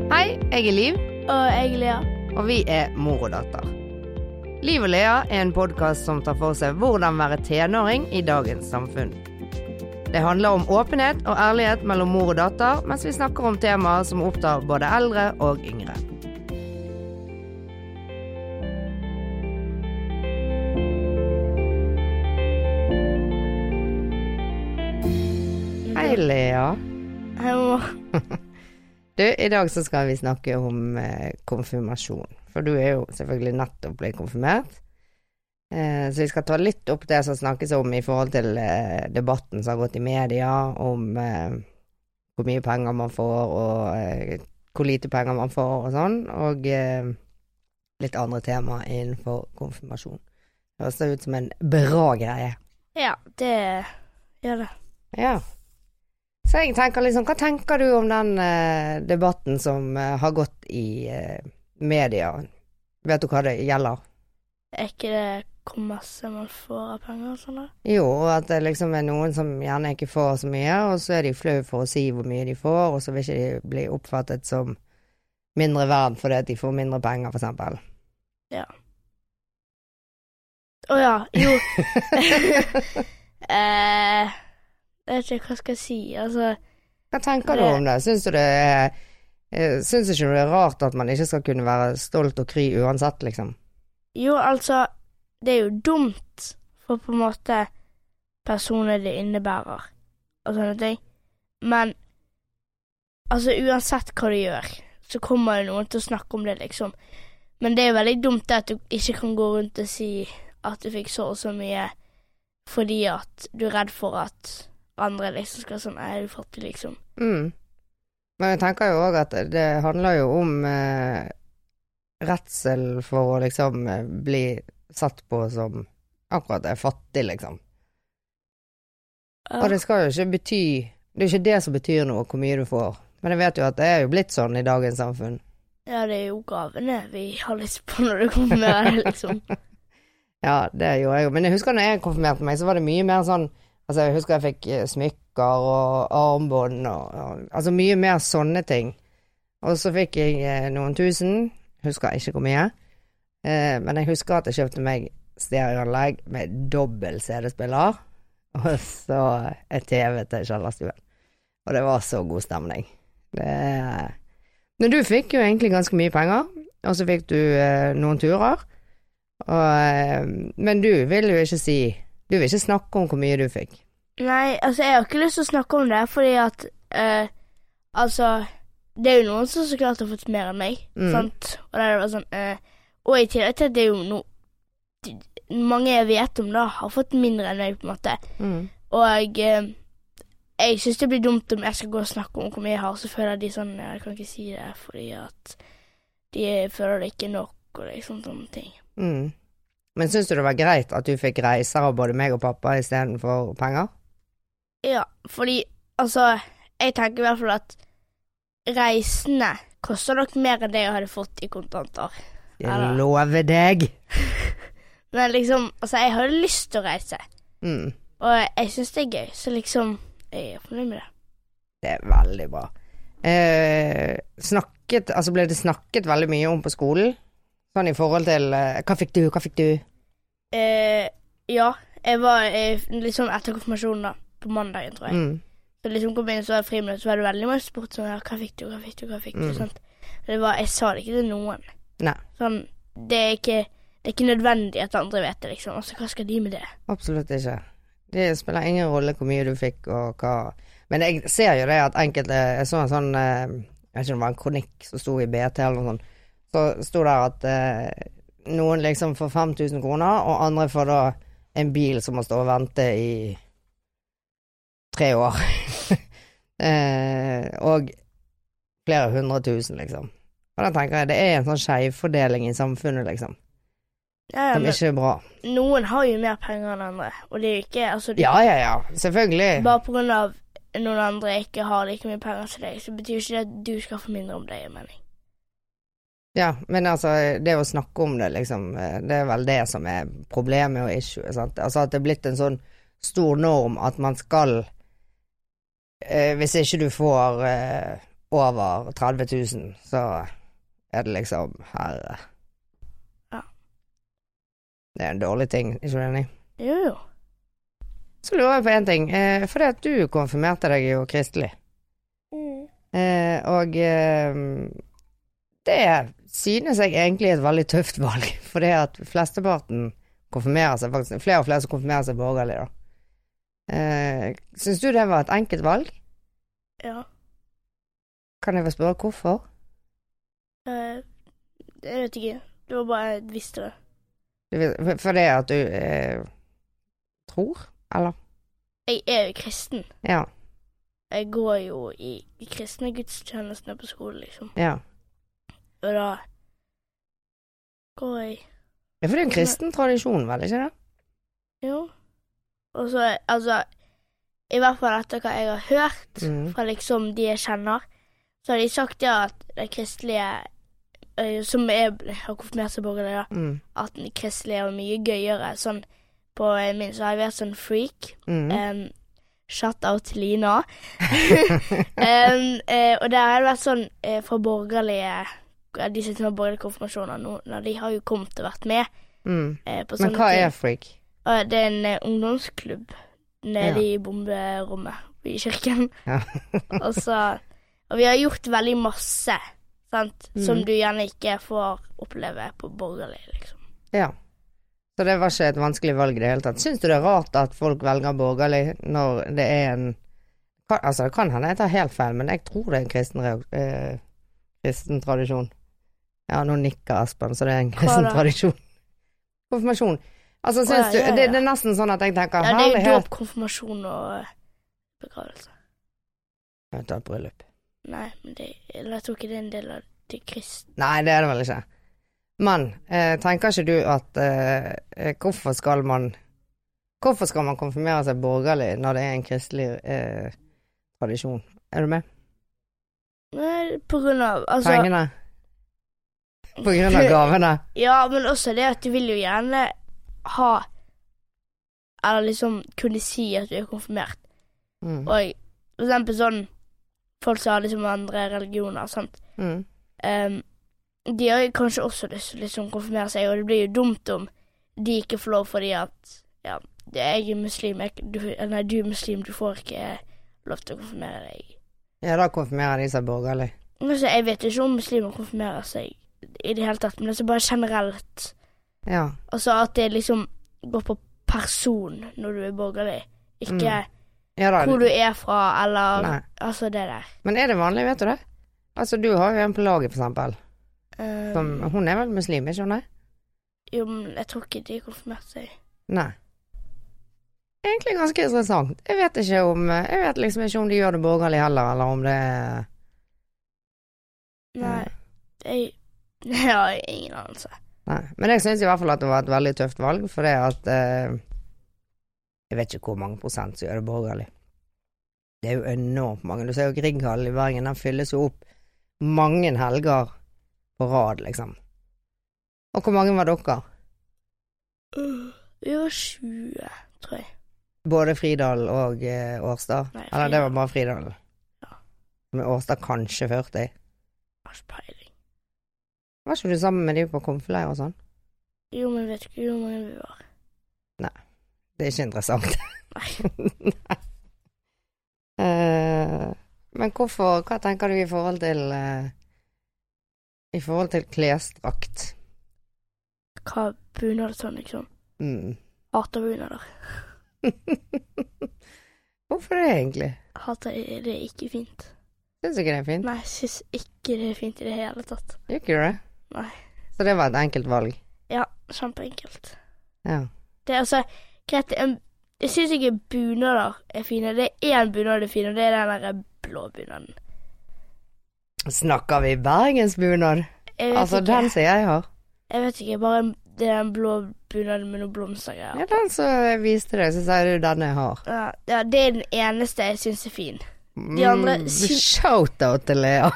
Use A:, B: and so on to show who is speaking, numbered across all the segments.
A: Jeg er Liv,
B: Og jeg, Lea.
A: og vi er mor og datter. Liv og Lea er en podkast som tar for seg hvordan være tenåring i dagens samfunn. Det handler om åpenhet og ærlighet mellom mor og datter, mens vi snakker om temaer som opptar både eldre og yngre. Hei, Lea.
B: Hei, mamma.
A: Du, i dag så skal vi snakke om eh, konfirmasjon. For du er jo selvfølgelig nettopp blitt konfirmert. Eh, så vi skal ta litt opp det som snakkes om i forhold til eh, debatten som har gått i media om eh, hvor mye penger man får, og eh, hvor lite penger man får, og sånn. Og eh, litt andre temaer innenfor konfirmasjon. Det høres da ut som en bra greie.
B: Ja, det gjør det.
A: Ja. Så jeg tenker liksom, hva tenker du om den eh, debatten som eh, har gått i eh, media? Vet du hva det gjelder?
B: Er ikke det hvor masse man får av penger og sånn? da?
A: Jo, at det liksom er noen som gjerne ikke får så mye, og så er de flau for å si hvor mye de får, og så vil ikke de bli oppfattet som mindre verd fordi at de får mindre penger, for eksempel.
B: Å ja, jo. eh, jeg vet ikke hva jeg skal si. Altså,
A: Hva tenker du om det? Syns du det er eh, Syns ikke du det er rart at man ikke skal kunne være stolt og kry uansett, liksom?
B: jo, altså Det er jo dumt for på en måte personer det innebærer og sånne ting. Men altså uansett hva du gjør, så kommer det noen til å snakke om det, liksom. Men det er jo veldig dumt det at du ikke kan gå rundt og si at du fikk så og så mye fordi at du er redd for at andre liksom skal sånn Nei, du er fattig, liksom.
A: Mm. Men jeg tenker jo òg at det handler jo om eh, redsel for å liksom eh, bli satt på som akkurat det, fattig, liksom. Og det skal jo ikke bety Det er jo ikke det som betyr noe, hvor mye du får. Men jeg vet jo at det er jo blitt sånn i dagens samfunn.
B: Ja, det er jo gavene vi har lyst på når du kommer med det, liksom.
A: Ja, det gjorde jeg jo. Men jeg husker når jeg konfirmerte meg, så var det mye mer sånn Altså, jeg husker jeg fikk eh, smykker og armbånd og, og Altså mye mer sånne ting. Og så fikk jeg eh, noen tusen. Husker ikke hvor mye. Eh, men jeg husker at jeg kjøpte meg stereoanlegg med dobbel CD-spiller. Og så et TV til kjellerstuen. Og det var så god stemning. Det eh, Men du fikk jo egentlig ganske mye penger. Og så fikk du eh, noen turer. Og, eh, men du vil jo ikke si Du vil ikke snakke om hvor mye du fikk.
B: Nei, altså jeg har ikke lyst til å snakke om det, fordi at eh, Altså, det er jo noen som så klart har fått mer enn meg,
A: Mm.
B: sant? Og det er bare sånn eh, Og i tillegg til at det er jo noe Mange jeg vet om, da, har fått mindre enn meg, på en måte. Og eh, jeg syns det blir dumt om jeg skal gå og snakke om hvor mye jeg har, så føler de sånn Jeg kan ikke si det fordi at de føler det ikke er nok, og liksom sånne ting.
A: Mm. Men syns du det var greit at du fikk reiser av både meg og pappa istedenfor penger?
B: Ja, fordi altså Jeg tenker i hvert fall at reisene koster nok mer enn det jeg hadde fått i kontanter.
A: Jeg
B: Ja da.
A: lover deg!
B: Men liksom, altså, jeg hadde lyst til å reise,
A: Mm.
B: og jeg syns det er gøy, så liksom Jeg er fornøyd med det.
A: Det er veldig bra. Eh, snakket Altså, ble det snakket veldig mye om på skolen? Sånn i forhold til eh, Hva fikk du, hva fikk du?
B: Eh, ja, jeg var eh, liksom etter konfirmasjonen, da, på mandagen, tror jeg.
A: Mm.
B: Så liksom kom jeg inn, så var det friminutt, så var det veldig mye spurt sånn ja, 'Hva fikk du, hva fikk du, hva fikk du?'
A: Mm.
B: sant? Og det var Jeg sa det ikke til noen.
A: Nei.
B: Sånn Det er ikke Det er ikke nødvendig at andre vet det, liksom. Altså, hva skal de med det?
A: Absolutt ikke. Det spiller ingen rolle hvor mye du fikk og hva Men jeg ser jo det at enkelte Jeg så en sånn eh, Jeg vet ikke om det var en kronikk som sto i BT eller noe sånt. Så sto det at eh, noen liksom får 5000 kroner, og andre får da en bil som må stå og vente i tre år. eh, og flere hundre tusen, liksom. Og da tenker jeg det er en sånn skjevfordeling i samfunnet, liksom,
B: Ja, ja,
A: som
B: men
A: ikke er bra.
B: noen har jo mer penger enn andre, og det er jo ikke altså, det-
A: Ja, ja, ja. Selvfølgelig.
B: Bare på grunn av noen andre ikke har like mye penger som deg, så betyr jo ikke det at du skal få mindre om det, jeg mener.
A: Ja, men altså, det å snakke om det, liksom, eh, det er vel det som er problemet og issue, sant? Altså at det er blitt en sånn stor norm at man skal, eh, hvis ikke du får eh, over 30 000, så er det liksom Herre.
B: Ja.
A: Det er en dårlig ting, ikke du enig?
B: Jo, jo.
A: Så lurer jeg på én ting. Eh, fordi at du konfirmerte deg jo kristelig. Eh, og eh, det synes jeg egentlig er et veldig tøft valg, fordi at flesteparten konfirmerer seg faktisk Flere og flere som konfirmerer seg borgerlig, da. Eh, Syns du det var et enkelt valg?
B: Ja.
A: Kan jeg få spørre hvorfor?
B: Eh, jeg vet ikke. Det var bare jeg visste det.
A: Du vet- Fordi at du eh, tror, eller?
B: Jeg er jo kristen.
A: Ja.
B: Jeg går jo i de kristne gudstjenestene på skolen, liksom.
A: Ja.
B: Og da går jeg
A: ja for det er jo en kristen tradisjon, vel, ikke det?
B: Jo. Og så, altså I hvert fall etter hva jeg har hørt
A: Mm.
B: fra liksom de jeg kjenner, så har de sagt ja at det kristelige eh, Som er, har konfirmert seg borgerlig, da.
A: Mm.
B: At den kristelige er mye gøyere. Sånn på eh, min Så har jeg vært sånn freak.
A: Mm.
B: Em, shout out til Lina. Em, eh, og det har det vært sånn eh, fra borgerlige ja, De som har borgerlige konfirmasjoner nå, når de har jo kommet og vært med
A: Mm.
B: eh, på sånne
A: Men hva
B: ting.
A: er freak?
B: Og det er en eh, ungdomsklubb nede i bomberommet i kirken.
A: Ja.
B: og, så, og vi har gjort veldig masse, sant, som
A: Mhm.
B: du gjerne ikke får oppleve på borgerlig, liksom.
A: Ja. Så det var ikke et vanskelig valg i det hele tatt. Syns du det er rart at folk velger borgerlig når det er en kan, Altså, det kan hende jeg tar helt feil, men jeg tror det er en kristen, reak- eh, kristen tradisjon. Ja, nå nikker Aspen, så det er en kristen
B: da?
A: tradisjon. Konfirmasjon. Altså,
B: Å,
A: syns
B: ja, ja,
A: du det,
B: ja.
A: det er nesten sånn at jeg tenker
B: Ja, det er jo
A: herlighet
B: dåp, konfirmasjon og eh, begravelse.
A: Jeg tar et bryllup.
B: Nei, men det, eller jeg tror ikke det er en del av det kristne.
A: Nei, det er det vel ikke. Men eh, tenker ikke du at eh, eh, hvorfor skal man Hvorfor skal man konfirmere seg borgerlig når det er en kristelig eh, tradisjon? Er du med?
B: Nei, På grunn av altså,
A: Pengene? På grunn av gavene?
B: Ja, men også det at du vil jo gjerne ha Eller liksom kunne si at du er konfirmert.
A: Mm.
B: Og for eksempel sånn Folk som har liksom andre religioner, sant.
A: Mm.
B: Ehm, de har jo kanskje også lyst til å liksom konfirmere seg, og det blir jo dumt om de ikke får lov fordi at Ja, det- jeg er muslim, jeg, du, nei, du er muslim, du får ikke lov til å konfirmere deg.
A: Ja, da konfirmerer de seg borgerlig.
B: Altså, jeg vet jo ikke om muslimer konfirmerer seg i det hele tatt, men altså bare generelt.
A: Ja.
B: Altså at det liksom går på person når du er borgerlig, ikke
A: ja da.
B: hvor du er fra, eller
A: Mm. Nei.
B: altså det der.
A: Men er det vanlig, vet du det? Altså, du har jo en på laget, for eksempel.
B: Ehm,
A: Som, hun er vel muslim, ikke hun? er?
B: Jo, men jeg tror ikke de konfirmerte seg.
A: Nei. Egentlig ganske interessant. Jeg vet ikke om Jeg vet liksom ikke om de gjør det borgerlig heller, eller om det er
B: Nei, jeg, jeg har ingen anelse.
A: Nei. Men jeg syns i hvert fall at det var et veldig tøft valg, for det at eh, Jeg vet ikke hvor mange prosent som gjør det borgerlig. Det er jo enormt mange. Du ser jo Grieghallen i Bergen, den fylles jo opp mange helger på rad, liksom. Og hvor mange var dere?
B: Vi var 20, tror jeg.
A: Både Fridal og eh, Årstad?
B: Nei,
A: Eller det var bare Fridal?
B: Ja.
A: Med Årstad kanskje 40?
B: Jeg har ikke peiling.
A: Var ikke du sammen med de på konfeleir og sånn?
B: Jo, men vet ikke hvor mange vi var.
A: Det er ikke interessant.
B: Nei.
A: Nei. Eh, men hvorfor Hva tenker du i forhold til eh, I forhold til klesdrakt?
B: Hva bunad og sånn, liksom.
A: Mm.
B: Hater bunader.
A: hvorfor det, egentlig?
B: Hater det er ikke fint.
A: Syns du ikke det er fint?
B: Nei, jeg syns ikke det er fint i det hele tatt.
A: Gjør ikke du det?
B: Nei.
A: Så det var et enkelt valg?
B: Ja, kjempeenkelt.
A: Ja.
B: Det er altså greit en, Jeg syns ikke bunader er fine. Det er én bunad det er fin, og det er den der blå bunaden.
A: Snakker vi bergensbunad?
B: Jeg vet
A: Altså
B: ikke.
A: den som jeg har?
B: Jeg vet ikke, bare en- det er en blå bunad med noen blomstergreier.
A: Ja, den som jeg viste deg, så sier du den jeg har.
B: Ja. ja, det er den eneste jeg syns er fin. De andre
A: Mm,
B: syn-
A: Shout-out til Lea.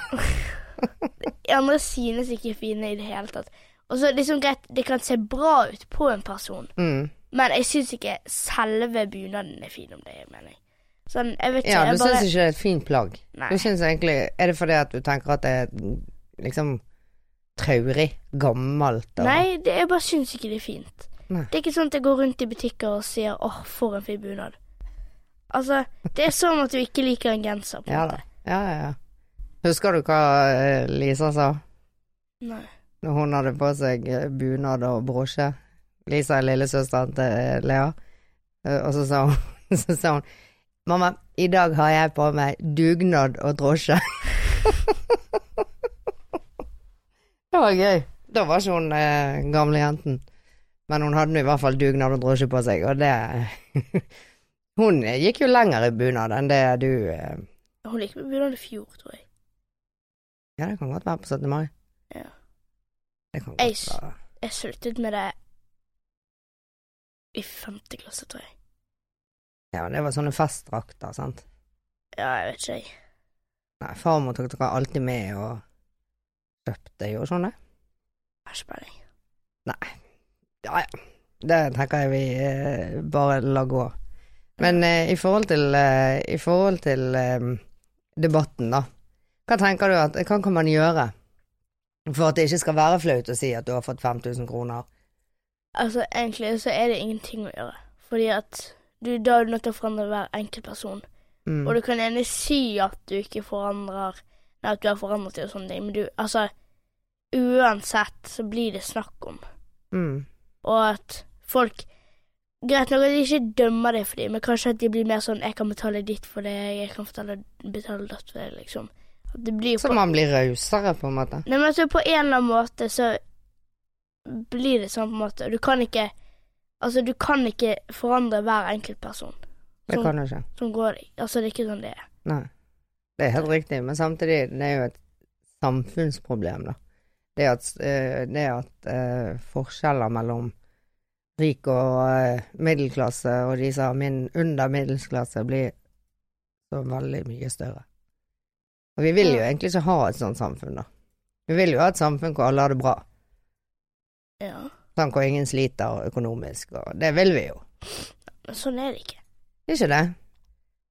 B: De andre synes ikke er fine i det hele tatt. Og så liksom greit, det kan se bra ut på en person,
A: Mm.
B: men jeg syns ikke selve bunaden er fin, om det er mening. Sånn, jeg vet ikke,
A: Ja, du
B: jeg bare
A: syns ikke det er et fint plagg?
B: Nei.
A: Du syns egentlig Er det fordi at du tenker at det er liksom traurig, gammelt og
B: Nei, det, jeg bare syns ikke det er fint.
A: Nei.
B: Det er ikke sånn at jeg går rundt i butikker og sier 'åh, for en fin bunad'. Altså, det er sånn at du ikke liker en genser, på en
A: Ja da.
B: måte.
A: Ja, ja, ja. Husker du hva eh, Lisa sa
B: Nei.
A: når hun hadde på seg eh, bunad og brosje? Lisa er lillesøsteren til eh, Lea. Eh, Og så sa hun, så sa hun Mamma, i dag har jeg på meg dugnad og drosje. det var gøy. Da var ikke hun eh, gamle jenten. Men hun hadde nå i hvert fall dugnad og drosje på seg, og det Hun eh, gikk jo lenger i bunad enn det du eh,
B: Hun likte bunad i fjor, tror jeg.
A: Ja, det kan godt være på 17. mai.
B: Ja.
A: Det kan godt
B: Jeg s-
A: være.
B: Jeg sluttet med det i femte klasse, tror jeg.
A: Ja, men det var sånne festdrakter, sant.
B: Ja, jeg vet ikke, jeg.
A: Nei, farmor tok dere alltid med og kjøpte jo sånne.
B: Har ikke peiling.
A: Ja, ja. Det tenker jeg vi eh, bare lar gå. Men eh, i forhold til, eh, i forhold til eh, debatten, da. Hva tenker du at Hva kan man gjøre for at det ikke skal være flaut å si at du har fått 5000 kroner?
B: Altså, egentlig så er det ingenting å gjøre. Fordi at du, da er du nødt til å forandre hver enkelt person.
A: Mm.
B: Og du kan gjerne si at du ikke forandrer Nei, at du har forandret deg og sånne ting, men du Altså, uansett så blir det snakk om.
A: Mm.
B: Og at folk Greit nok at de ikke dømmer deg for det, men kanskje at de blir mer sånn 'Jeg kan betale ditt for det, jeg kan betale, betale datt for det', liksom. At det blir
A: Så
B: på,
A: man blir rausere, på en måte.
B: Nei, men altså, på en eller annen måte så blir det sånn på en måte Du kan ikke Altså, du kan ikke forandre hver enkelt person
A: Det
B: Sånn.
A: kan du ikke.
B: som går Altså, det er ikke sånn det er.
A: Nei, det er helt riktig, men samtidig, det er jo et samfunnsproblem, da. Det at, eh, det at eh, forskjeller mellom rik og eh, middelklasse og de som har min under middelsklasse, blir så veldig mye større. Og vi vil jo
B: Ja.
A: egentlig ikke ha et sånt samfunn, da. Vi vil jo ha et samfunn hvor alle har det bra,
B: Ja.
A: sånn hvor ingen sliter økonomisk, og det vil vi jo.
B: Men sånn er det ikke.
A: Ikke det?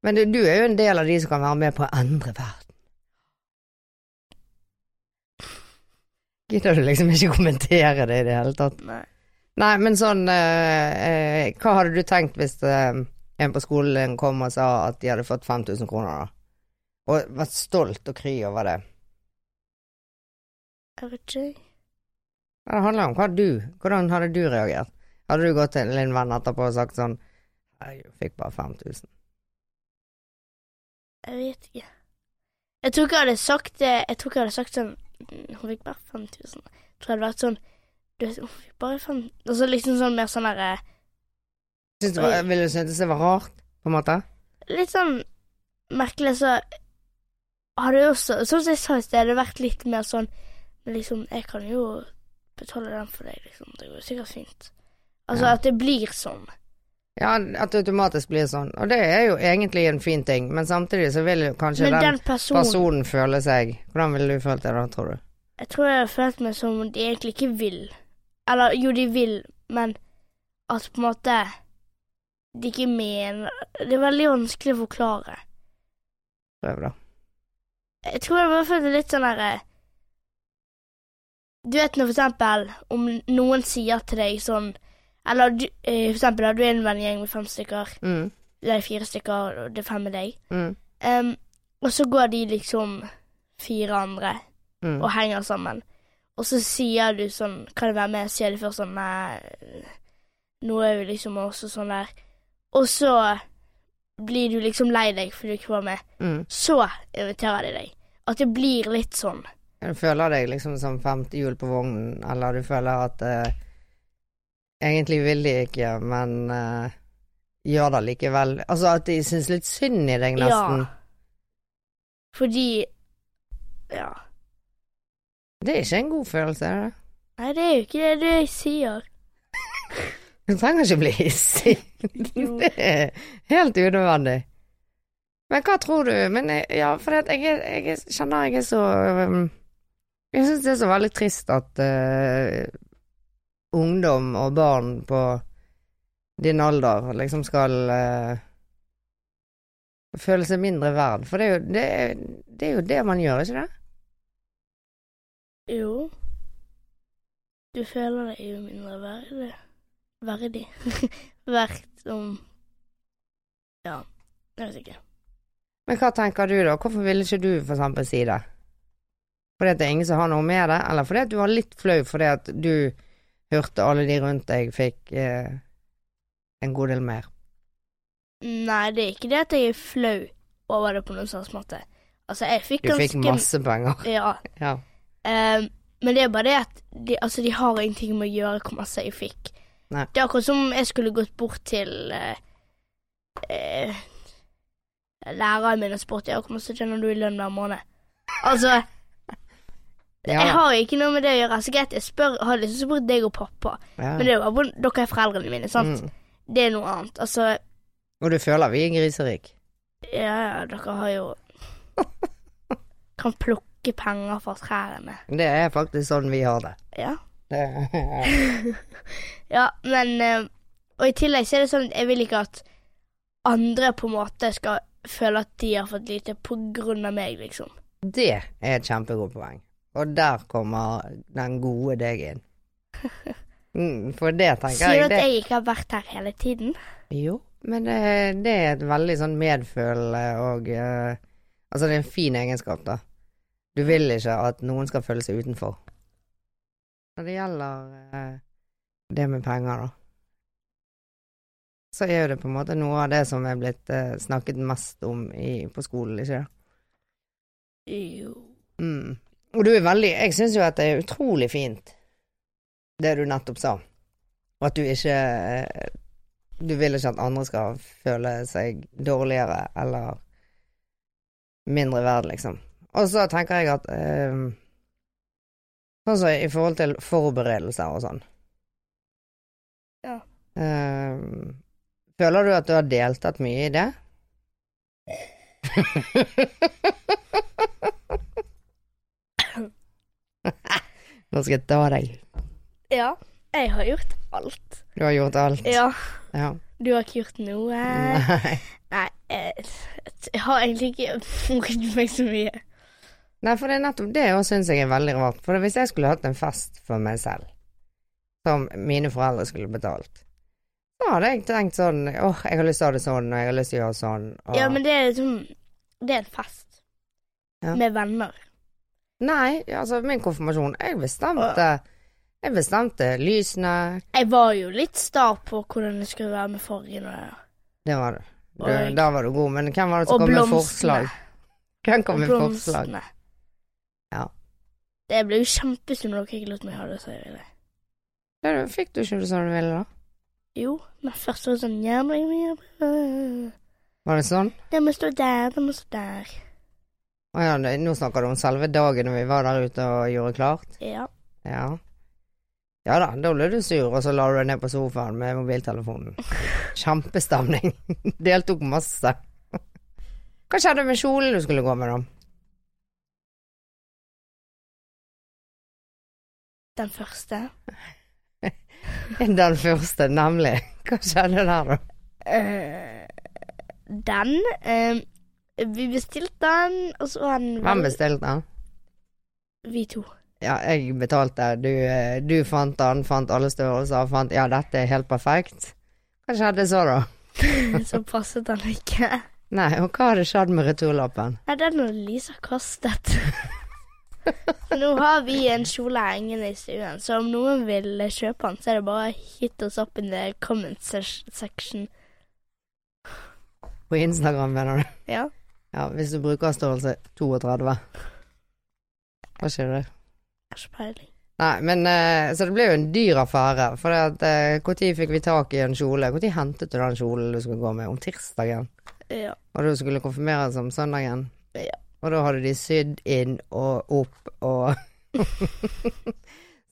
A: Men du, du er jo en del av de som kan være med på å endre verden. Gidder du liksom ikke kommentere det i det hele tatt?
B: Nei.
A: Nei, men sånn eh, eh, Hva hadde du tenkt hvis eh, en på skolen kom og sa at de hadde fått 5000 kroner, da? Og vært stolt og kry over det.
B: Jeg vet ikke.
A: Ja, Det handler om hva du Hvordan hadde du reagert? Hadde du gått til din venn etterpå og sagt sånn Jeg fikk bare 5000.
B: Jeg vet ikke. Jeg tror ikke jeg hadde sagt det Jeg tror ikke jeg hadde sagt sånn «Mm, Hun fikk bare 5000. Jeg tror jeg hadde vært sånn du vet, Hun fikk bare 5000 Altså liksom sånn mer sånn derre
A: Syns du, var- ville du synes det var rart, på en måte?
B: Litt sånn merkelig, så har det jo også Sånn som jeg sa i sted, det har vært litt mer sånn Men liksom, jeg kan jo betale den for deg, liksom. Det går jo sikkert fint. Altså
A: Ja.
B: at det blir sånn.
A: Ja, at det automatisk blir sånn. Og det er jo egentlig en fin ting, men samtidig så vil jo kanskje
B: Men
A: den,
B: den personen
A: personen føle seg Hvordan ville du følt det da, tror du?
B: Jeg tror jeg har følt meg som om de egentlig ikke vil. Eller jo, de vil, men at på en måte de ikke mener Det er veldig vanskelig å forklare.
A: Prøv, da.
B: Jeg tror jeg bare følte litt sånn derre Du vet når for eksempel om noen sier til deg sånn Eller du, eh, for eksempel da du er en vennegjeng med fem stykker,
A: Mm.
B: det er fire stykker, og det er fem med deg.
A: Mm.
B: Em, og så går de liksom fire andre
A: Mm.
B: og henger sammen. Og så sier du sånn Kan jeg være med? Sier de først sånn Nei, nå er vi liksom også sånn der. Og så blir du liksom lei deg fordi du ikke var med.
A: Mm.
B: Så inviterer de deg. At det blir litt sånn.
A: Du føler deg liksom som femte hjul på vognen, eller du føler at eh, Egentlig vil de ikke, men eh, gjør det likevel. Altså at de syns litt synd i deg, nesten.
B: Ja. Fordi Ja.
A: Det er ikke en god følelse, er det?
B: Nei, det er jo ikke det du sier.
A: Du trenger ikke bli hissig. Det er helt unødvendig. Men hva tror du Men jeg- ja, for det at jeg, er- jeg er- kjenner jeg er så øhm, Jeg syns det er så veldig trist at øh, ungdom og barn på din alder liksom skal øh, føle seg mindre verd. For det er, jo, det, er, det er jo det man gjør, ikke det?
B: Jo. du føler deg jo mindre verdig. Verdig. Verdt om Ja, jeg vet ikke.
A: Men hva tenker du da? Hvorfor ville ikke du for eksempel si det? Fordi at det er ingen som har noe med det, eller fordi at du var litt flau fordi at du hørte alle de rundt deg fikk eh, en god del mer?
B: Nei, det er ikke det at jeg er flau over det på noen slags måte. Altså, jeg fikk
A: Du fikk masse penger.
B: Ja.
A: Ja.
B: Eh, men det er bare det at de, altså, de har ingenting med å gjøre hvor masse jeg fikk.
A: Nei.
B: Det er akkurat som jeg skulle gått bort til eh, eh, læreren min og spurt ja, hvor masse tjener du i lønn hver måned. Altså,
A: Ja,
B: jeg har ikke noe med det å gjøre. Så greit, jeg spør, har liksom spurt deg og pappa,
A: ja.
B: men det er jo bare, hvordan- dere er foreldrene mine, sant?
A: Mm.
B: Det er noe annet. Altså,
A: Og du føler vi er griserik?
B: ja, ja, dere har jo Kan plukke penger fra trærne.
A: Det er faktisk sånn vi har det.
B: Ja.
A: det
B: Ja, men eh, Og i tillegg så er det sånn at jeg vil ikke at andre på en måte skal føle at de har fått lite på grunn av meg, liksom.
A: det er et kjempegodt poeng. Og der kommer den gode deg inn. Mm, for det tenker
B: Sier du
A: jeg
B: at
A: det.
B: jeg ikke har vært her hele tiden?
A: Jo, men det, det er et veldig sånn medfølende og eh, Altså, det er en fin egenskap, da. Du vil ikke at noen skal føle seg utenfor. Når det gjelder eh, det med penger, da, så er jo det på en måte noe av det som er blitt eh, snakket mest om i, på skolen, ikke det?
B: Jo.
A: Mm. Og du er veldig Jeg syns jo at det er utrolig fint, det du nettopp sa. Og at du ikke eh, Du vil ikke at andre skal føle seg dårligere eller mindre verd, liksom. Og så tenker jeg at eh, Sånn som i forhold til forberedelser og sånn.
B: Ja.
A: Eh, føler du at du har deltatt mye i det? Nå skal jeg ta deg.
B: Ja. Jeg har gjort alt.
A: Du har gjort alt.
B: Ja.
A: Ja.
B: Du har ikke gjort noe.
A: Nei.
B: Nei, jeg, jeg har egentlig ikke brydd meg så mye.
A: Nei, for det er nettopp det jeg syns jeg er veldig rart. For hvis jeg skulle hatt en fest for meg selv, som mine foreldre skulle betalt, da hadde jeg tenkt sånn åh, jeg har lyst til å ha det sånn, og jeg har lyst til å gjøre sånn, og
B: Ja, men det er liksom Det er en fest.
A: Ja.
B: Med venner.
A: Nei, altså, min konfirmasjon Jeg bestemte Jeg bestemte lysene
B: Jeg var jo litt sta på hvordan det skulle være med fargen og,
A: Det var du. du
B: Og-
A: da var du god, men hvem var det som
B: og
A: kom med
B: blomstene.
A: forslag? Hvem kom
B: og
A: med forslag?
B: blomstene.
A: Ja.
B: Det ble jo kjempesynd når dere ikke lot meg ha det, så jeg ville.
A: Ja, du- Fikk du ikke det som du ville, da?
B: Jo, men først var det sånn ja, men, ja, men,
A: Var det sånn?
B: Det må stå der, det må stå der.
A: Å ja, det- nå snakker du om selve dagen når vi var der ute og gjorde klart?
B: Ja.
A: Ja. Ja da, da ble du sur, og så la du deg ned på sofaen med mobiltelefonen. Kjempestemning. Deltok masse. Hva skjedde med kjolen du skulle gå med, da?
B: Den første.
A: Den første, nemlig. Hva skjedde der, da?
B: Eh, den eh, Vi bestilte den, og så var den
A: Hvem
B: vel-
A: bestilte den?
B: Vi to.
A: Ja, jeg betalte. Du, eh, du fant den, fant alle størrelser, fant Ja, dette er helt perfekt. Hva skjedde så, da?
B: så passet den ikke.
A: Nei, og hva hadde skjedd med returlappen?
B: Nei, den har Lisa kastet. Nå har vi en kjole hengende i stuen, så om noen vil kjøpe den, så er det bare å hit oss opp in the comment se- section.
A: På Instagram, mener du?
B: Ja.
A: Ja, hvis du bruker størrelse 32. Hva skjer det?
B: Jeg har ikke peiling.
A: Nei, men eh, Så det ble jo en dyr affære. For når fikk vi tak i en kjole? Når hentet du den kjolen du skulle gå med? Om tirsdagen?
B: Ja.
A: Og du skulle konfirmeres om søndagen?
B: Ja.
A: Og da hadde de sydd inn og opp og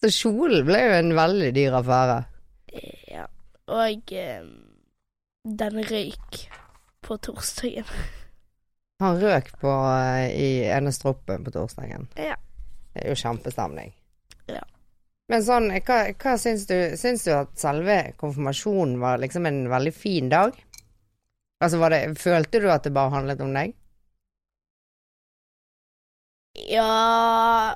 A: Så kjolen ble jo en veldig dyr affære.
B: ja. Og eh, den røyk på torsdagen.
A: Han røk på eh, i ene stroppen på torsdagen.
B: Ja.
A: Det er jo kjempestemning.
B: Ja.
A: Men sånn, hva, hva syns du Syns du at selve konfirmasjonen var liksom en veldig fin dag? Altså, var det Følte du at det bare handlet om deg?
B: Ja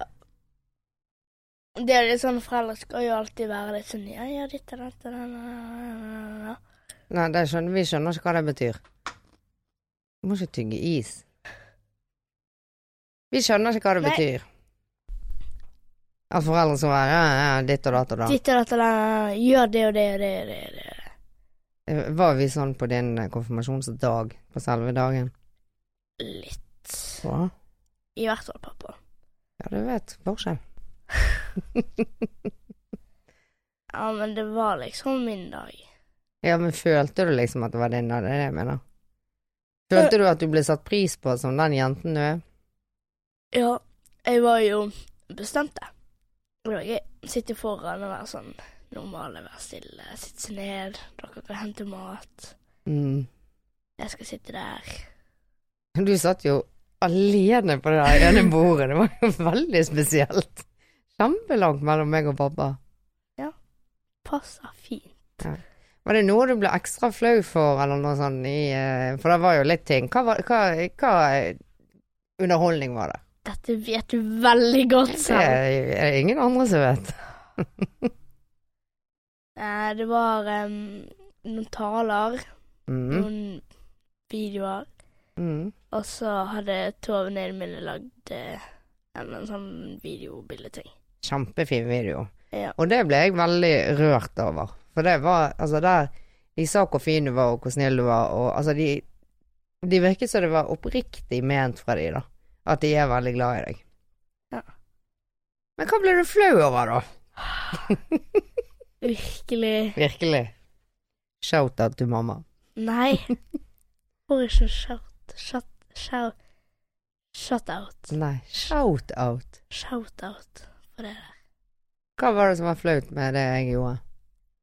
B: Det er litt sånn, Foreldre skal jo alltid være litt sånn Ja, ja, ditt og datt og den og den.
A: Nei, det skjønner, vi skjønner ikke hva det betyr. Du må ikke tygge is. Vi skjønner ikke hva det
B: Nei.
A: betyr. At foreldre skal være ja, ja, ditt og datt og da.
B: Ditt og datt og den. Gjør det og det og det og det. og det.
A: Var vi sånn på din eh, konfirmasjonsdag? På selve dagen?
B: Litt.
A: Ja,
B: I hvert fall pappa.
A: ja du vet. Forskjell.
B: Ja, men det var liksom min dag.
A: Ja, men følte du liksom at det var din, da? Det er det jeg mener. Følte du at du ble satt pris på som den jenten du er?
B: Ja, jeg var jo bestemt det. Det var gøy. Sitte foran og være sånn normale, være stille, sitte seg ned. Dere kan hente mat.
A: Mm.
B: Jeg skal sitte der.
A: Du satt jo alene på det der ene bordet, det var jo veldig spesielt. Kjempelangt mellom meg og pappa.
B: Passer fint.
A: Var det noe du ble ekstra flau for, eller noe sånt i eh, For det var jo litt ting. Hva, var- hva, hva underholdning var det?
B: Dette vet du veldig godt
A: Det
B: selv.
A: er er det ingen andre som vet.
B: Eh, Det var em, noen taler,
A: Mm.
B: noen videoer,
A: Mm.
B: og så hadde to av venninnene mine lagd eh, en en sånn videobildeting.
A: Kjempefin video.
B: Ja.
A: Og det ble jeg veldig rørt over. For det var Altså, der De sa hvor fin du var, og hvor snill du var, og altså, de De virket som det var oppriktig ment fra de, da. At de er veldig glad i deg.
B: Ja.
A: Men hva ble du flau over, da?
B: Virkelig.
A: Virkelig. Shout-out til mamma.
B: Nei. Får ikke shout, shout, shout, shout out.
A: Nei, shout-out.
B: Shout out for det der.
A: Hva var det som var flaut med det jeg gjorde?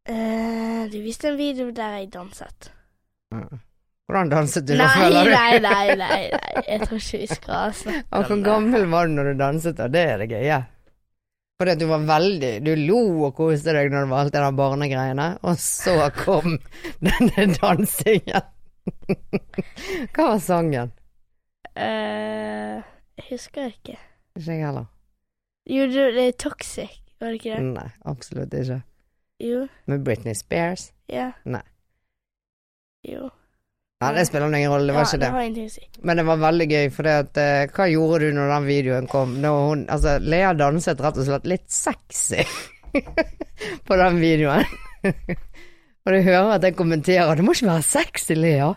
B: Eh, du viste en video der jeg danset.
A: Mm. Hvordan danset du, da,
B: nei,
A: føler du?
B: nei, nei, nei, nei. Jeg tror ikke vi skal altså. snakke
A: Og hvor
B: om det.
A: gammel var du når du danset, da? Det er det gøye. Fordi at du var veldig Du lo og koste deg når det var alt det der barnegreiene, og så kom denne dansingen. Hva var sangen?
B: Eh, jeg husker ikke.
A: Ikke jeg heller.
B: Jo, det, det er Toxic, var det ikke det?
A: Nei, absolutt ikke.
B: Jo.
A: Med Britney Spears?
B: Ja.
A: Nei.
B: Jo.
A: Nei, det spiller ingen rolle, det var
B: ja,
A: ikke
B: Det
A: det.
B: har ingenting å si.
A: Men det var veldig gøy, for det at eh, Hva gjorde du når den videoen kom? Når hun Altså, Lea danset rett og slett litt sexy på den videoen. og du hører at jeg kommenterer 'Det må ikke være sexy, Lea'.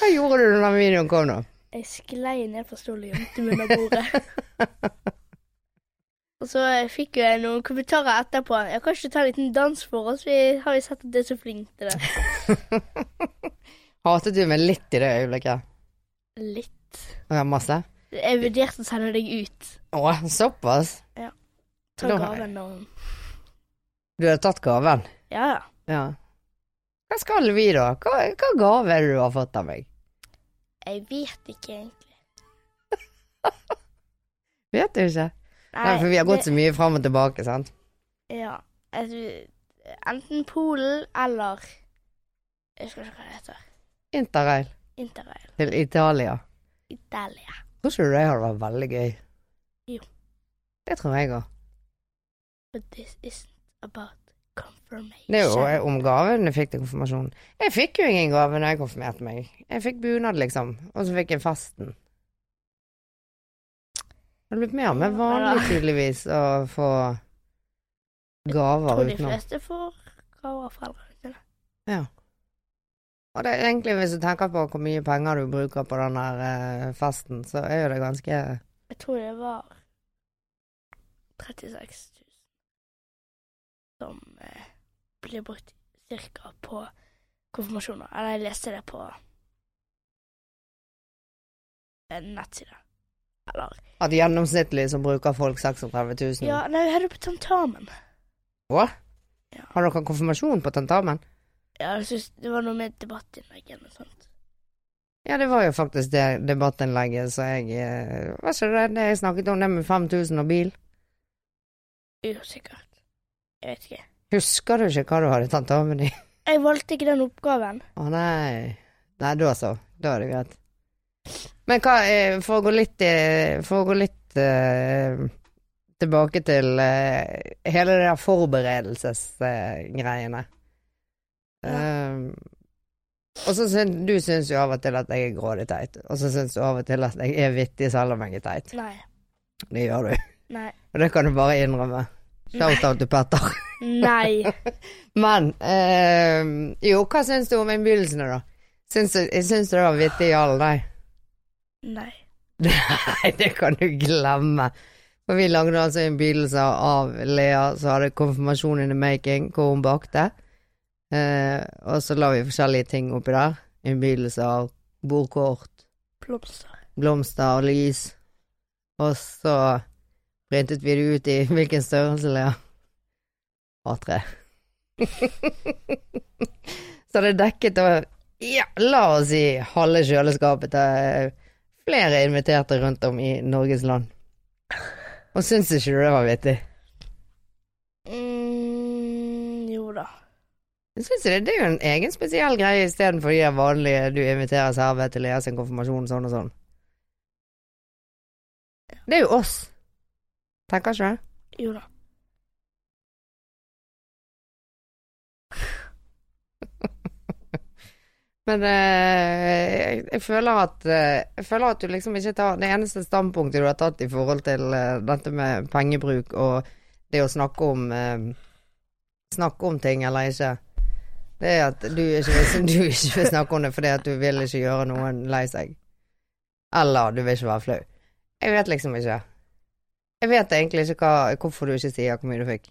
A: Hva gjorde du når den videoen kom, da?
B: Jeg sklei ned fra stolen og gjemte meg under bordet. og så eh, fikk jo jeg noen kommentarer etterpå. Jeg kan ikke ta en liten dans for oss, vi har jo sett at du er så flink til det.
A: Hatet du meg litt i det øyeblikket?
B: Litt.
A: Ja, masse?
B: Jeg vurderte å sende deg ut.
A: Å, såpass?
B: Ta
A: Da-
B: gaven og
A: Du hadde tatt gaven?
B: Ja, ja.
A: Ja. Hva skal vi, da? Hva, hva gave er det du har fått av meg?
B: Jeg vet ikke, egentlig.
A: Vet du ikke? Nei, for vi har gått så mye fram og tilbake, sant?
B: Ja. Jeg, enten Polen eller Jeg husker ikke hva det heter.
A: Interrail
B: Interrail.
A: til Italia.
B: Italia.
A: Tror ikke du det hadde vært veldig gøy?
B: Jo.
A: Det tror jeg òg.
B: But this isn't about confirmation.
A: Det er jo eh, om gaven jeg fikk til konfirmasjonen. Jeg fikk jo ingen gave når jeg konfirmerte meg. Jeg fikk bunad, liksom, og så fikk jeg festen. Det er blitt mer med vanlig, tydeligvis, å få
B: Jeg
A: gaver
B: tror de
A: utenom.
B: fleste får gaver av foreldrene sine.
A: Og det er egentlig, hvis du tenker på hvor mye penger du bruker på den der eh, festen, så er jo det ganske
B: Jeg tror det var 36 000 som eh, ble brukt cirka på konfirmasjoner. Eller jeg leste det på en nettside. eh, Eller
A: At gjennomsnittlig så bruker folk 36 000.
B: Ja, nei, vi hadde det på tentamen.
A: Har dere konfirmasjon på tentamen?
B: Ja, jeg synes det var noe med debattinnlegg eller noe sånt.
A: Ja, det var jo faktisk det debattinnlegget så jeg eh, Var ikke det det jeg snakket om, det med 5000 og bil?
B: Usikkert. Jeg vet ikke.
A: Husker du ikke hva du hadde tatt av med de?
B: Jeg valgte ikke den oppgaven.
A: Å nei. Nei, da så. Da er det greit. Men hva eh, For å gå litt eh, For å gå litt eh, tilbake til eh, hele det der forberedelsesgreiene. Eh, og så syns du syns jo av og til at jeg er grådig teit, og så syns du av og til at jeg er vittig selv om jeg er teit.
B: Nei.
A: Det gjør du.
B: Nei.
A: Og det kan du bare innrømme. Shout-out til Petter.
B: Nei.
A: Men eh, Jo, hva syns du om innbydelsene, da? Syns du, jeg syns det var vittig jall, nei?
B: Nei.
A: Nei, det kan du glemme. For vi lagde altså innbydelser av Lea som hadde konfirmasjon in the making, hvor hun bakte. Eh, og så la vi forskjellige ting oppi der. Innbydelser av bordkort,
B: Blomster.
A: blomster og lys. Og så printet vi det ut i hvilken størrelse, Lea? A3. så det dekket over ja, la oss si halve kjøleskapet til eh, flere inviterte rundt om i Norges land. Og syns ikke du det var vittig?
B: Mm, jo da.
A: Jeg synes det, det er jo en egen spesiell greie istedenfor de der vanlige du inviterer serve til Lea sin konfirmasjon, sånn og sånn. Det er jo oss. Tenker ikke det?
B: Jo da.
A: Men eh, jeg, jeg, føler at, eh, jeg føler at du liksom ikke tar Det eneste standpunktet du har tatt i forhold til eh, dette med pengebruk og det å snakke om eh, Snakke om ting eller ikke, det er at du ikke, vil, du ikke vil snakke om det fordi at du vil ikke gjøre noen lei seg. Eller du vil ikke være flau. Jeg vet liksom ikke. Jeg vet egentlig ikke hva, hvorfor du ikke sier hvor mye du fikk.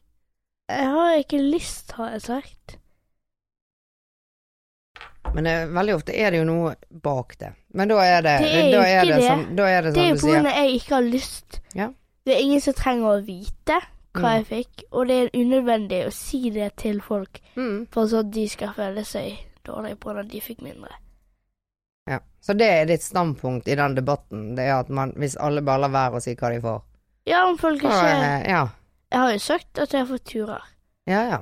B: Jeg har ikke lyst, har jeg sagt.
A: Men eh, veldig ofte er det jo noe bak det. Men da er det
B: Det
A: da
B: er ikke
A: er det,
B: det.
A: som, da er det
B: Det
A: som
B: er
A: du
B: jo på
A: sier.
B: grunn av at jeg ikke har lyst.
A: Ja.
B: Det er ingen som trenger å vite hva
A: Mm.
B: jeg fikk, og det er unødvendig å si det til folk
A: Mm.
B: for så at de skal føle seg dårlig på når de fikk mindre.
A: Ja. Så det er ditt standpunkt i den debatten, det er at man, hvis alle bare lar være å si hva de får
B: Ja, om folk
A: så,
B: ikke
A: eh, Ja,
B: Jeg har jo sagt at jeg har fått turer.
A: ja. ja.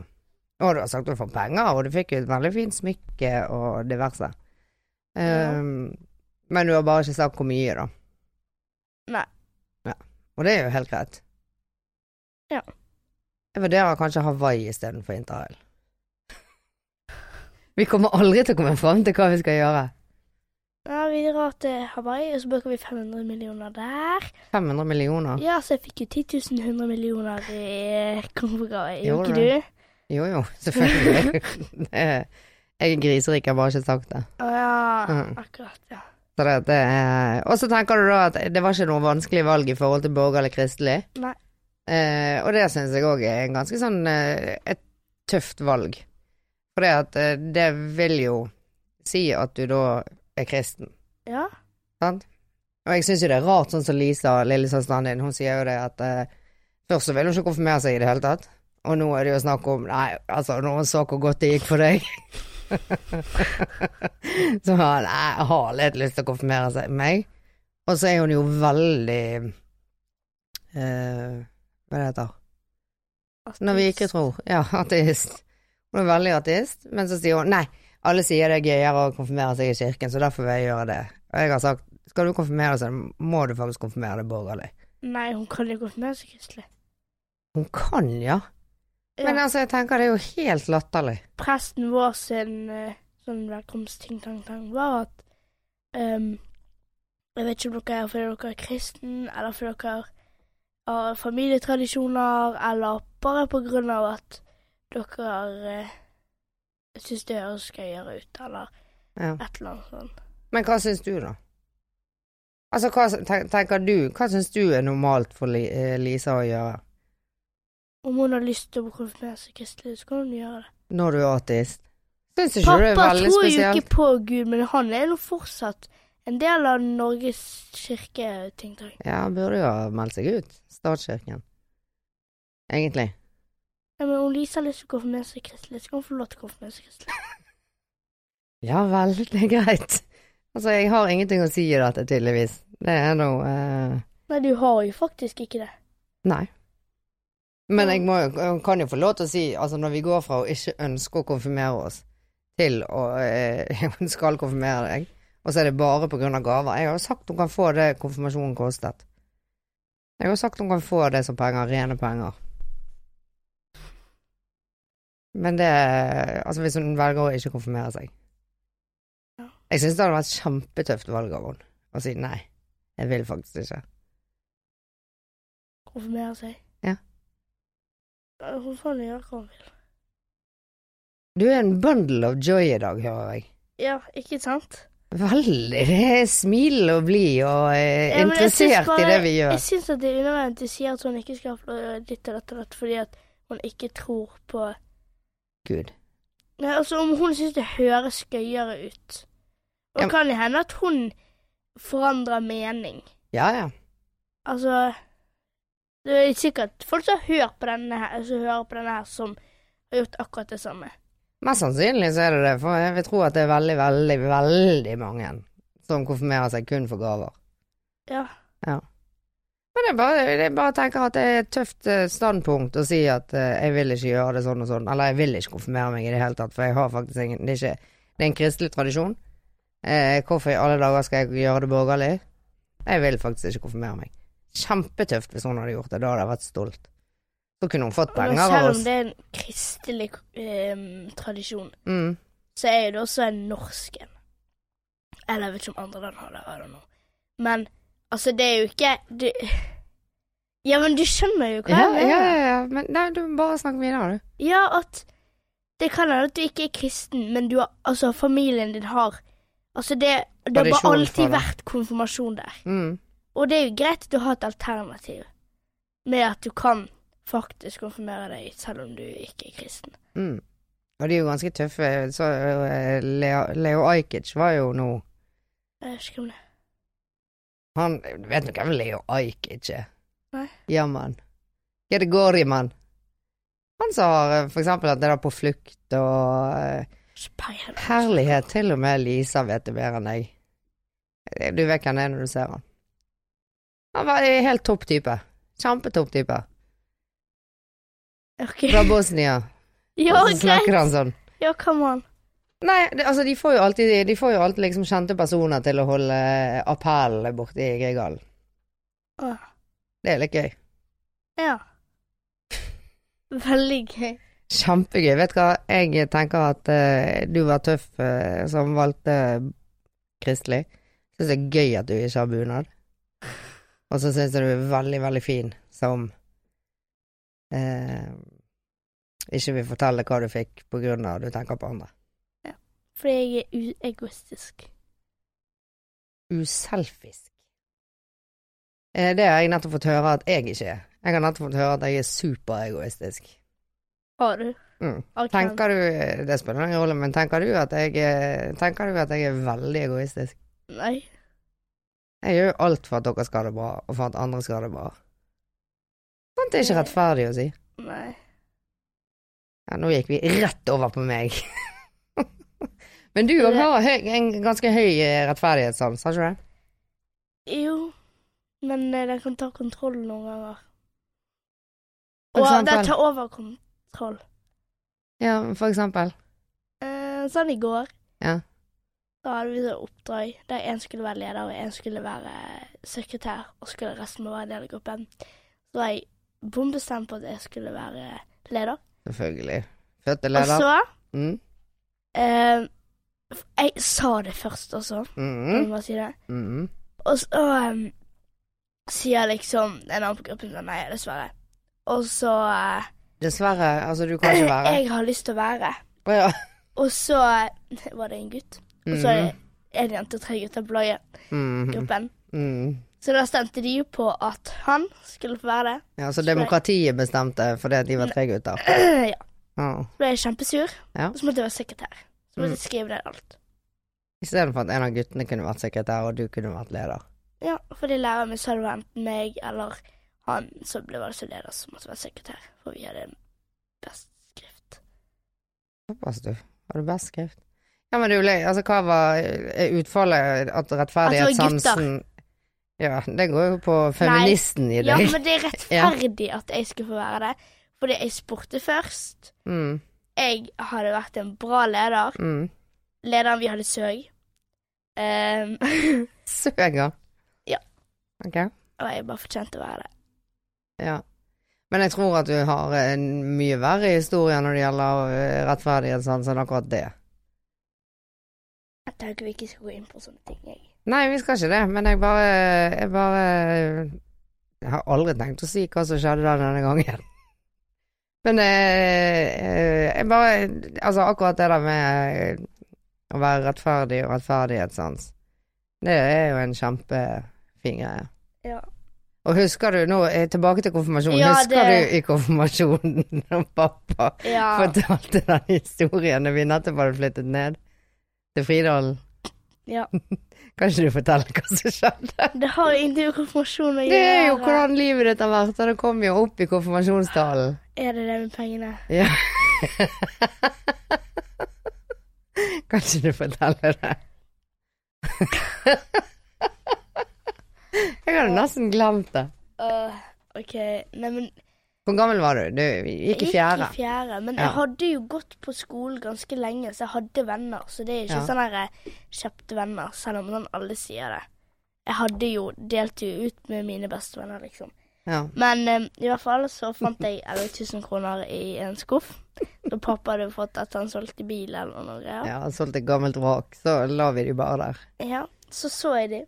A: Og du har sagt du får penger, og du fikk jo et veldig fint smykke og diverse. Ehm, Men du har bare ikke sagt hvor mye, da.
B: Nei.
A: Ja. Og det er jo helt greit.
B: Ja.
A: Jeg vurderer kanskje Hawaii istedenfor interrail. Vi kommer aldri til å komme fram til hva vi skal gjøre.
B: Ja, vi drar til Hawaii, og så bruker vi 500 millioner der.
A: 500 millioner?
B: Ja, så jeg fikk jo 10 000 100 millioner i konfirmasjonsgave.
A: Jo,
B: Gjorde
A: det.
B: ikke du?
A: Jo jo, selvfølgelig. Det er- jeg er griserik, jeg har bare ikke sagt det.
B: Å ja,
A: Mm.
B: akkurat. ja.
A: Så det, det er... Og så tenker du da at det var ikke noe vanskelig valg i forhold til borgerlig kristelig.
B: Nei.
A: Eh, og det syns jeg òg er en ganske sånn eh, et tøft valg. For det at eh, det vil jo si at du da er kristen,
B: Ja.
A: sant? Og jeg syns jo det er rart, sånn som Lisa, lillesøsteren din, hun sier jo det at eh, først så vil hun ikke konfirmere seg i det hele tatt, og nå er det jo snakk om Nei, altså, når hun så hvor godt det gikk for deg Så han jeg har litt lyst til å konfirmere seg meg. Og så er hun jo veldig eh, Hva det heter Når vi ikke tror. Ja, ateist. Hun er veldig ateist, men så sier hun nei, alle sier det er gøyere å konfirmere seg i kirken, så derfor vil jeg gjøre det. Og jeg har sagt skal du konfirmere deg, så må du faktisk konfirmere deg borgerlig.
B: Nei, hun kan jo konfirmere seg kristelig.
A: Hun kan, ja.
B: Ja.
A: Men altså, jeg tenker det er jo helt latterlig.
B: presten vår sin eh, sånn velkomstting-tang-tang var at ehm, Jeg vet ikke om dere er fordi dere er kristen, eller fordi dere har familietradisjoner, eller bare på grunn av at dere uh, syns det høres gøyere ut, eller
A: Ja.
B: et eller annet sånt.
A: Men hva syns du, da? Altså, hva ten- tenker du Hva syns du er normalt for Li- eh, Lisa å gjøre
B: Om hun har lyst til å konfirmere seg kristelig, så kan hun gjøre det.
A: når du er ateist? Syns ikke du det er
B: Pappa
A: veldig
B: tror jo
A: spesielt?
B: ikke på Gud, men han er nå fortsatt en del av Norges kirke-ting-tang.
A: Ja, han burde jo ha meldt seg ut. Statskirken. Egentlig.
B: Ja, men om Lisa har lyst til å konfirmere seg kristelig, så kan hun få lov til å konfirmere seg kristelig.
A: Ja vel, det er greit. Altså, jeg har ingenting å si i dette, tydeligvis. Det er nå eh,
B: Nei, du har jo faktisk ikke det.
A: Nei. Men jeg, må, jeg kan jo få lov til å si, altså når vi går fra å ikke ønske å konfirmere oss, til å eh, Hun skal konfirmere deg, og så er det bare på grunn av gaver. Jeg har jo sagt hun kan få det konfirmasjonen kostet. Jeg har jo sagt hun kan få det som penger, rene penger. Men det Altså, hvis hun velger å ikke konfirmere seg.
B: Ja.
A: Jeg syns det hadde vært et kjempetøft valg av henne å si nei. Jeg vil faktisk ikke.
B: Konfirmere seg.
A: Ja.
B: Ja, Hun får gjøre hva hun vil.
A: Du er en bundle of joy i dag, hører jeg.
B: Ja, ikke sant?
A: Veldig. Det er smilende og blid og eh,
B: Ja, men jeg synes
A: interessert i
B: bare-
A: det vi gjør.
B: Jeg syns at det er unødvendig å si at hun ikke skal få gjøre ditt og datt og datt fordi at hun ikke tror på
A: Gud.
B: Nei, altså om hun syns det høres gøyere ut.
A: Ja,
B: Og
A: men-
B: kan det hende at hun forandrer mening.
A: Ja, ja.
B: Altså Det er sikkert folk som hører på denne her, som, hører på denne her som har gjort akkurat det samme.
A: Mest sannsynlig så er det det, for jeg vil tro at det er veldig, veldig, veldig mange som konfirmerer seg kun for gaver.
B: Ja.
A: Men jeg bare, jeg bare tenker at det er et tøft eh, standpunkt å si at eh, jeg vil ikke gjøre det sånn og sånn, eller jeg vil ikke konfirmere meg i det hele tatt, for jeg har faktisk ingen Det er, ikke, det er en kristelig tradisjon. Eh, hvorfor i alle dager skal jeg gjøre det borgerlig? Jeg vil faktisk ikke konfirmere meg. Kjempetøft hvis hun hadde gjort det, da hadde jeg vært stolt. Så kunne hun fått
B: Men
A: penger av
B: selv om
A: oss.
B: det er en kristelig eh, tradisjon,
A: Mm.
B: så er det også en norsk en. Eller jeg vet ikke om andre land har det, I don't know. Men altså, det er jo ikke du... Ja, men du skjønner jo hva
A: Ja,
B: jeg
A: ja,
B: mener.
A: ja, ja, men nei, du må bare snakke videre, du.
B: Ja, at det kan hende at du ikke er kristen, men du har, altså, familien din har Altså, det, det har bare
A: Tradisjon for
B: alltid
A: det.
B: vært konfirmasjon der.
A: Mm.
B: Og det er jo greit at du har et alternativ med at du kan faktisk konfirmere deg selv om du ikke er kristen.
A: Mm. Og de er jo ganske tøffe. Så, eh, Leo, Leo Ajkic var jo nå
B: Jeg vet ikke om det
A: Han Vet du hvem Leo Ajkic er?
B: Nei.
A: Jammen. Gedegoriman. Han sa eh, for eksempel at det der på flukt og eh,
B: Ikke peiling.
A: Herlighet, til og med Lisa vet det bedre enn jeg. Eh, Du vet hvem det er når du ser han. Han var en helt topp type. Kjempetopp type.
B: Ok.
A: Fra Bosnia.
B: Ja,
A: og så
B: greit.
A: snakker han sånn.
B: Ja, come on.
A: Nei, det, altså de får jo alltid, de får jo alltid liksom kjente personer til å holde eh, appell borte i Grieghallen.
B: Åh,
A: Det er litt gøy.
B: Ja. Veldig gøy.
A: Kjempegøy. Vet du hva, jeg tenker at eh, du var tøff eh, som valgte kristelig. Syns det er gøy at du ikke har bunad. Og så syns jeg du er veldig, veldig fin som eh, ikke vil fortelle hva du fikk på grunn av at du tenker på andre.
B: Fordi jeg er uegoistisk.
A: uselfisk. Eh, Det har jeg nettopp fått høre at jeg ikke er. Jeg har nettopp fått høre at jeg er superegoistisk.
B: Har du?
A: Mm.
B: Har ikke
A: Tenker du Det spiller ingen rolle, men tenker du at jeg er, tenker du at jeg er veldig egoistisk?
B: han- Nei.
A: Jeg gjør jo alt for at dere skal ha det bra, og for at andre skal ha det bra. Sånt er ikke rettferdig å si.
B: Nei.
A: Ja, nå gikk vi rett over på meg. men du òg har høy, en ganske høy eh, rettferdighetssans, har ikke du det?
B: Jo, men eh, den kan ta kontroll noen ganger.
A: For
B: Og
A: eksempel?
B: den tar over kontroll.
A: Ja, for eksempel.
B: Eh, sånn i går.
A: Ja.
B: Da hadde vi sånn oppdrag der én skulle være leder og én skulle være eh, sekretær, og skulle resten må være en del av gruppen. Så var jeg bombestemt på at jeg skulle være eh, leder.
A: Selvfølgelig. Fødte
B: Og
A: leder.
B: så
A: Mm.
B: eh, f- Jeg sa det først også,
A: Mm.
B: jeg må si det.
A: Mm.
B: Og så ehm, sier liksom en annen på gruppen sånn Nei, dessverre. Og så eh,
A: Dessverre. Altså, du kan ikke være
B: Jeg har lyst til å være.
A: Å ja.
B: Og så eh, var det en gutt. Og så er det en jente og tre gutter på laget.
A: Mhm. Mhm.
B: Gruppen.
A: Mhm.
B: Så da stemte de jo på at han skulle få være det.
A: Ja, så demokratiet bestemte fordi at de var tre
B: Mm.
A: gutter.
B: ja.
A: Ja.
B: Så ble jeg kjempesur.
A: Ja.
B: Og så måtte jeg være sekretær. Så måtte jeg skrive ned alt.
A: Istedenfor at en av guttene kunne vært sekretær, og du kunne vært leder.
B: Ja, fordi læreren min sa det var enten meg eller han som ble valgt som leder, som måtte være sekretær. For vi hadde best skrift.
A: Såpass, du. Har du best skrift? Ja, men du, le- altså, hva var er utfallet? At
B: At det
A: rettferdighetssansen Ja, det går jo på feministen i
B: Ja,
A: deg.
B: men det er rettferdig at jeg skulle få være det. Fordi jeg spurte først.
A: Mm,
B: Jeg hadde vært en bra leder.
A: mm.
B: lederen vi hadde søg. Ehm,
A: Søger.
B: Ja.
A: Ok.
B: og jeg bare fortjente å være det.
A: Ja. Men jeg tror at du har en mye verre historie når det gjelder eh, rettferdighetssans enn akkurat det.
B: Jeg tenker vi ikke skal gå inn på sånne ting, jeg.
A: Nei, vi skal ikke det, men jeg bare Jeg bare Jeg har aldri tenkt å si hva som skjedde der denne gangen. Men eh, eh, jeg bare Altså, akkurat det der med å være rettferdig og rettferdighetssans, det er jo en kjempefin greie.
B: Ja.
A: Og husker du nå, eh, tilbake til konfirmasjonen,
B: Ja,
A: husker
B: det-
A: du i konfirmasjonen når pappa
B: Ja.
A: fortalte den historien når vi nettopp hadde flyttet ned til Fridalen?
B: Ja.
A: Kan ikke du fortelle hva som skjedde?
B: Det har ingenting med konfirmasjon å gjøre.
A: Det er jo hvordan livet ditt har vært, og det kom jo opp i konfirmasjonstalen.
B: Er det det med pengene?
A: Ja. Kan ikke du fortelle det? Jeg hadde nesten glemt det.
B: Øh, ok, nei, men
A: Hvor gammel var du? Du
B: jeg
A: gikk i fjerde.
B: Gikk i fjerde men
A: Ja.
B: jeg hadde jo gått på skolen ganske lenge, så jeg hadde venner. Så det er ikke
A: Ja.
B: sånn her eh, kjøpte venner, selv om sånn alle sier det. Jeg hadde jo delt jo ut med mine bestevenner, liksom.
A: Ja.
B: Men eh, i hvert fall så fant jeg 11 000 kroner i en skuff. Da pappa hadde fått at han solgte bil eller noe greier.
A: Ja, solgte gammelt vrak, så la vi de bare der.
B: Ja, så så jeg de.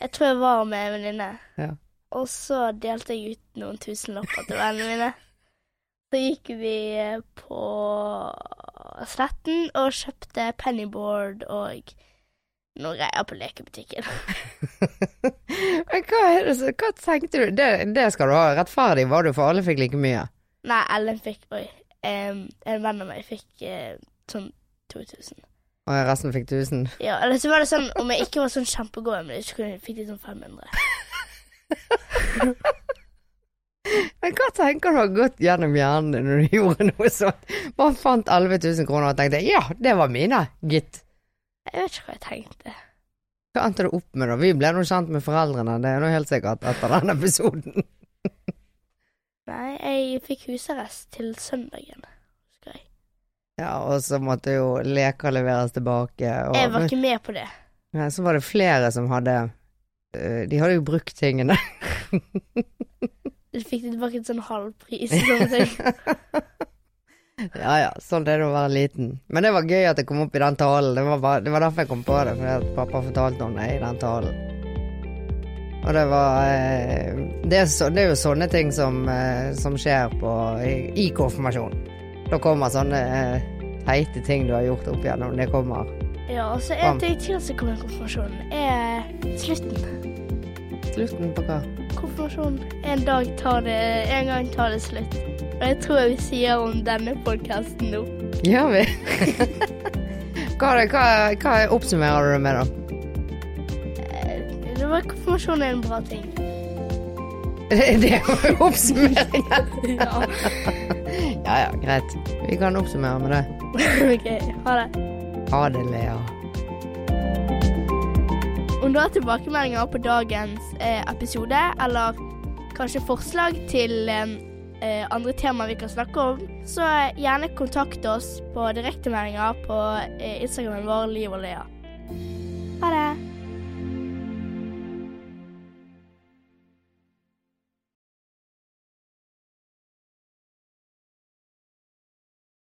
B: Jeg tror jeg var med en venninne.
A: Ja.
B: Og så delte jeg ut noen tusenlapper til vennene mine. Så gikk vi eh, på Sletten og kjøpte pennyboard og noe greier på lekebutikken.
A: Men hva, er det, så- hva tenkte du? Det, det skal du ha. Rettferdig var du, for alle fikk like mye.
B: Nei, Ellen fikk Oi. em, en venn av meg fikk eh, sånn 2000.
A: Og resten fikk 1000.
B: Ja, eller så var det sånn om jeg ikke var sånn kjempegod, men jeg skulle- fikk de sånn 500.
A: Men hva tenker du har gått gjennom hjernen din når du gjorde noe sånt? Bare fant 11 000 kroner og tenkte ja, det var mine, gitt.
B: Jeg vet ikke hva jeg tenkte.
A: Hva endte du opp med da? Vi ble nå kjent med foreldrene, det er nå helt sikkert etter den episoden.
B: Nei, jeg fikk husarrest til søndagen. husker Jeg
A: Ja, og så måtte jo leker leveres tilbake. Og,
B: Jeg var ikke med på det.
A: Nei, så var det flere som hadde eh, De hadde jo brukt tingene.
B: Jeg fikk det tilbake til sånn halv pris. sånn ting.
A: Ja ja, sånn er det å være liten. Men det var gøy at det kom opp i den talen. Det var, bare, det var derfor jeg kom på det, fordi at pappa fortalte om det i den talen. Og det var eh, det, er så, det er jo sånne ting som, eh, som skjer på, i, i konfirmasjon. Da kommer sånne eh, teite ting du har gjort opp igjennom. Det kommer
B: Ja, og så
A: Bam.
B: en ting til som kommer i konfirmasjonen, er slutten.
A: slutten på hva?
B: Konfirmasjonen. En dag tar det En gang tar det slutt. Og jeg tror jeg sier om denne podkasten nå.
A: Gjør vi? hva, er det- hva, hva oppsummerer du det med, da?
B: Eh, Det var konfirmasjon er en bra ting.
A: Det var jo oppsummeringen.
B: Ja.
A: Ja ja, greit. Vi kan oppsummere med det.
B: OK, ha det.
A: Ha det, Lea.
B: Om du har tilbakemeldinger på dagens eh, episode, eller kanskje forslag til eh, eh, andre temaer vi kan snakke om, så gjerne kontakt oss på direktemeldinger på eh, Instagramen vår Liv og Lea. Ha det!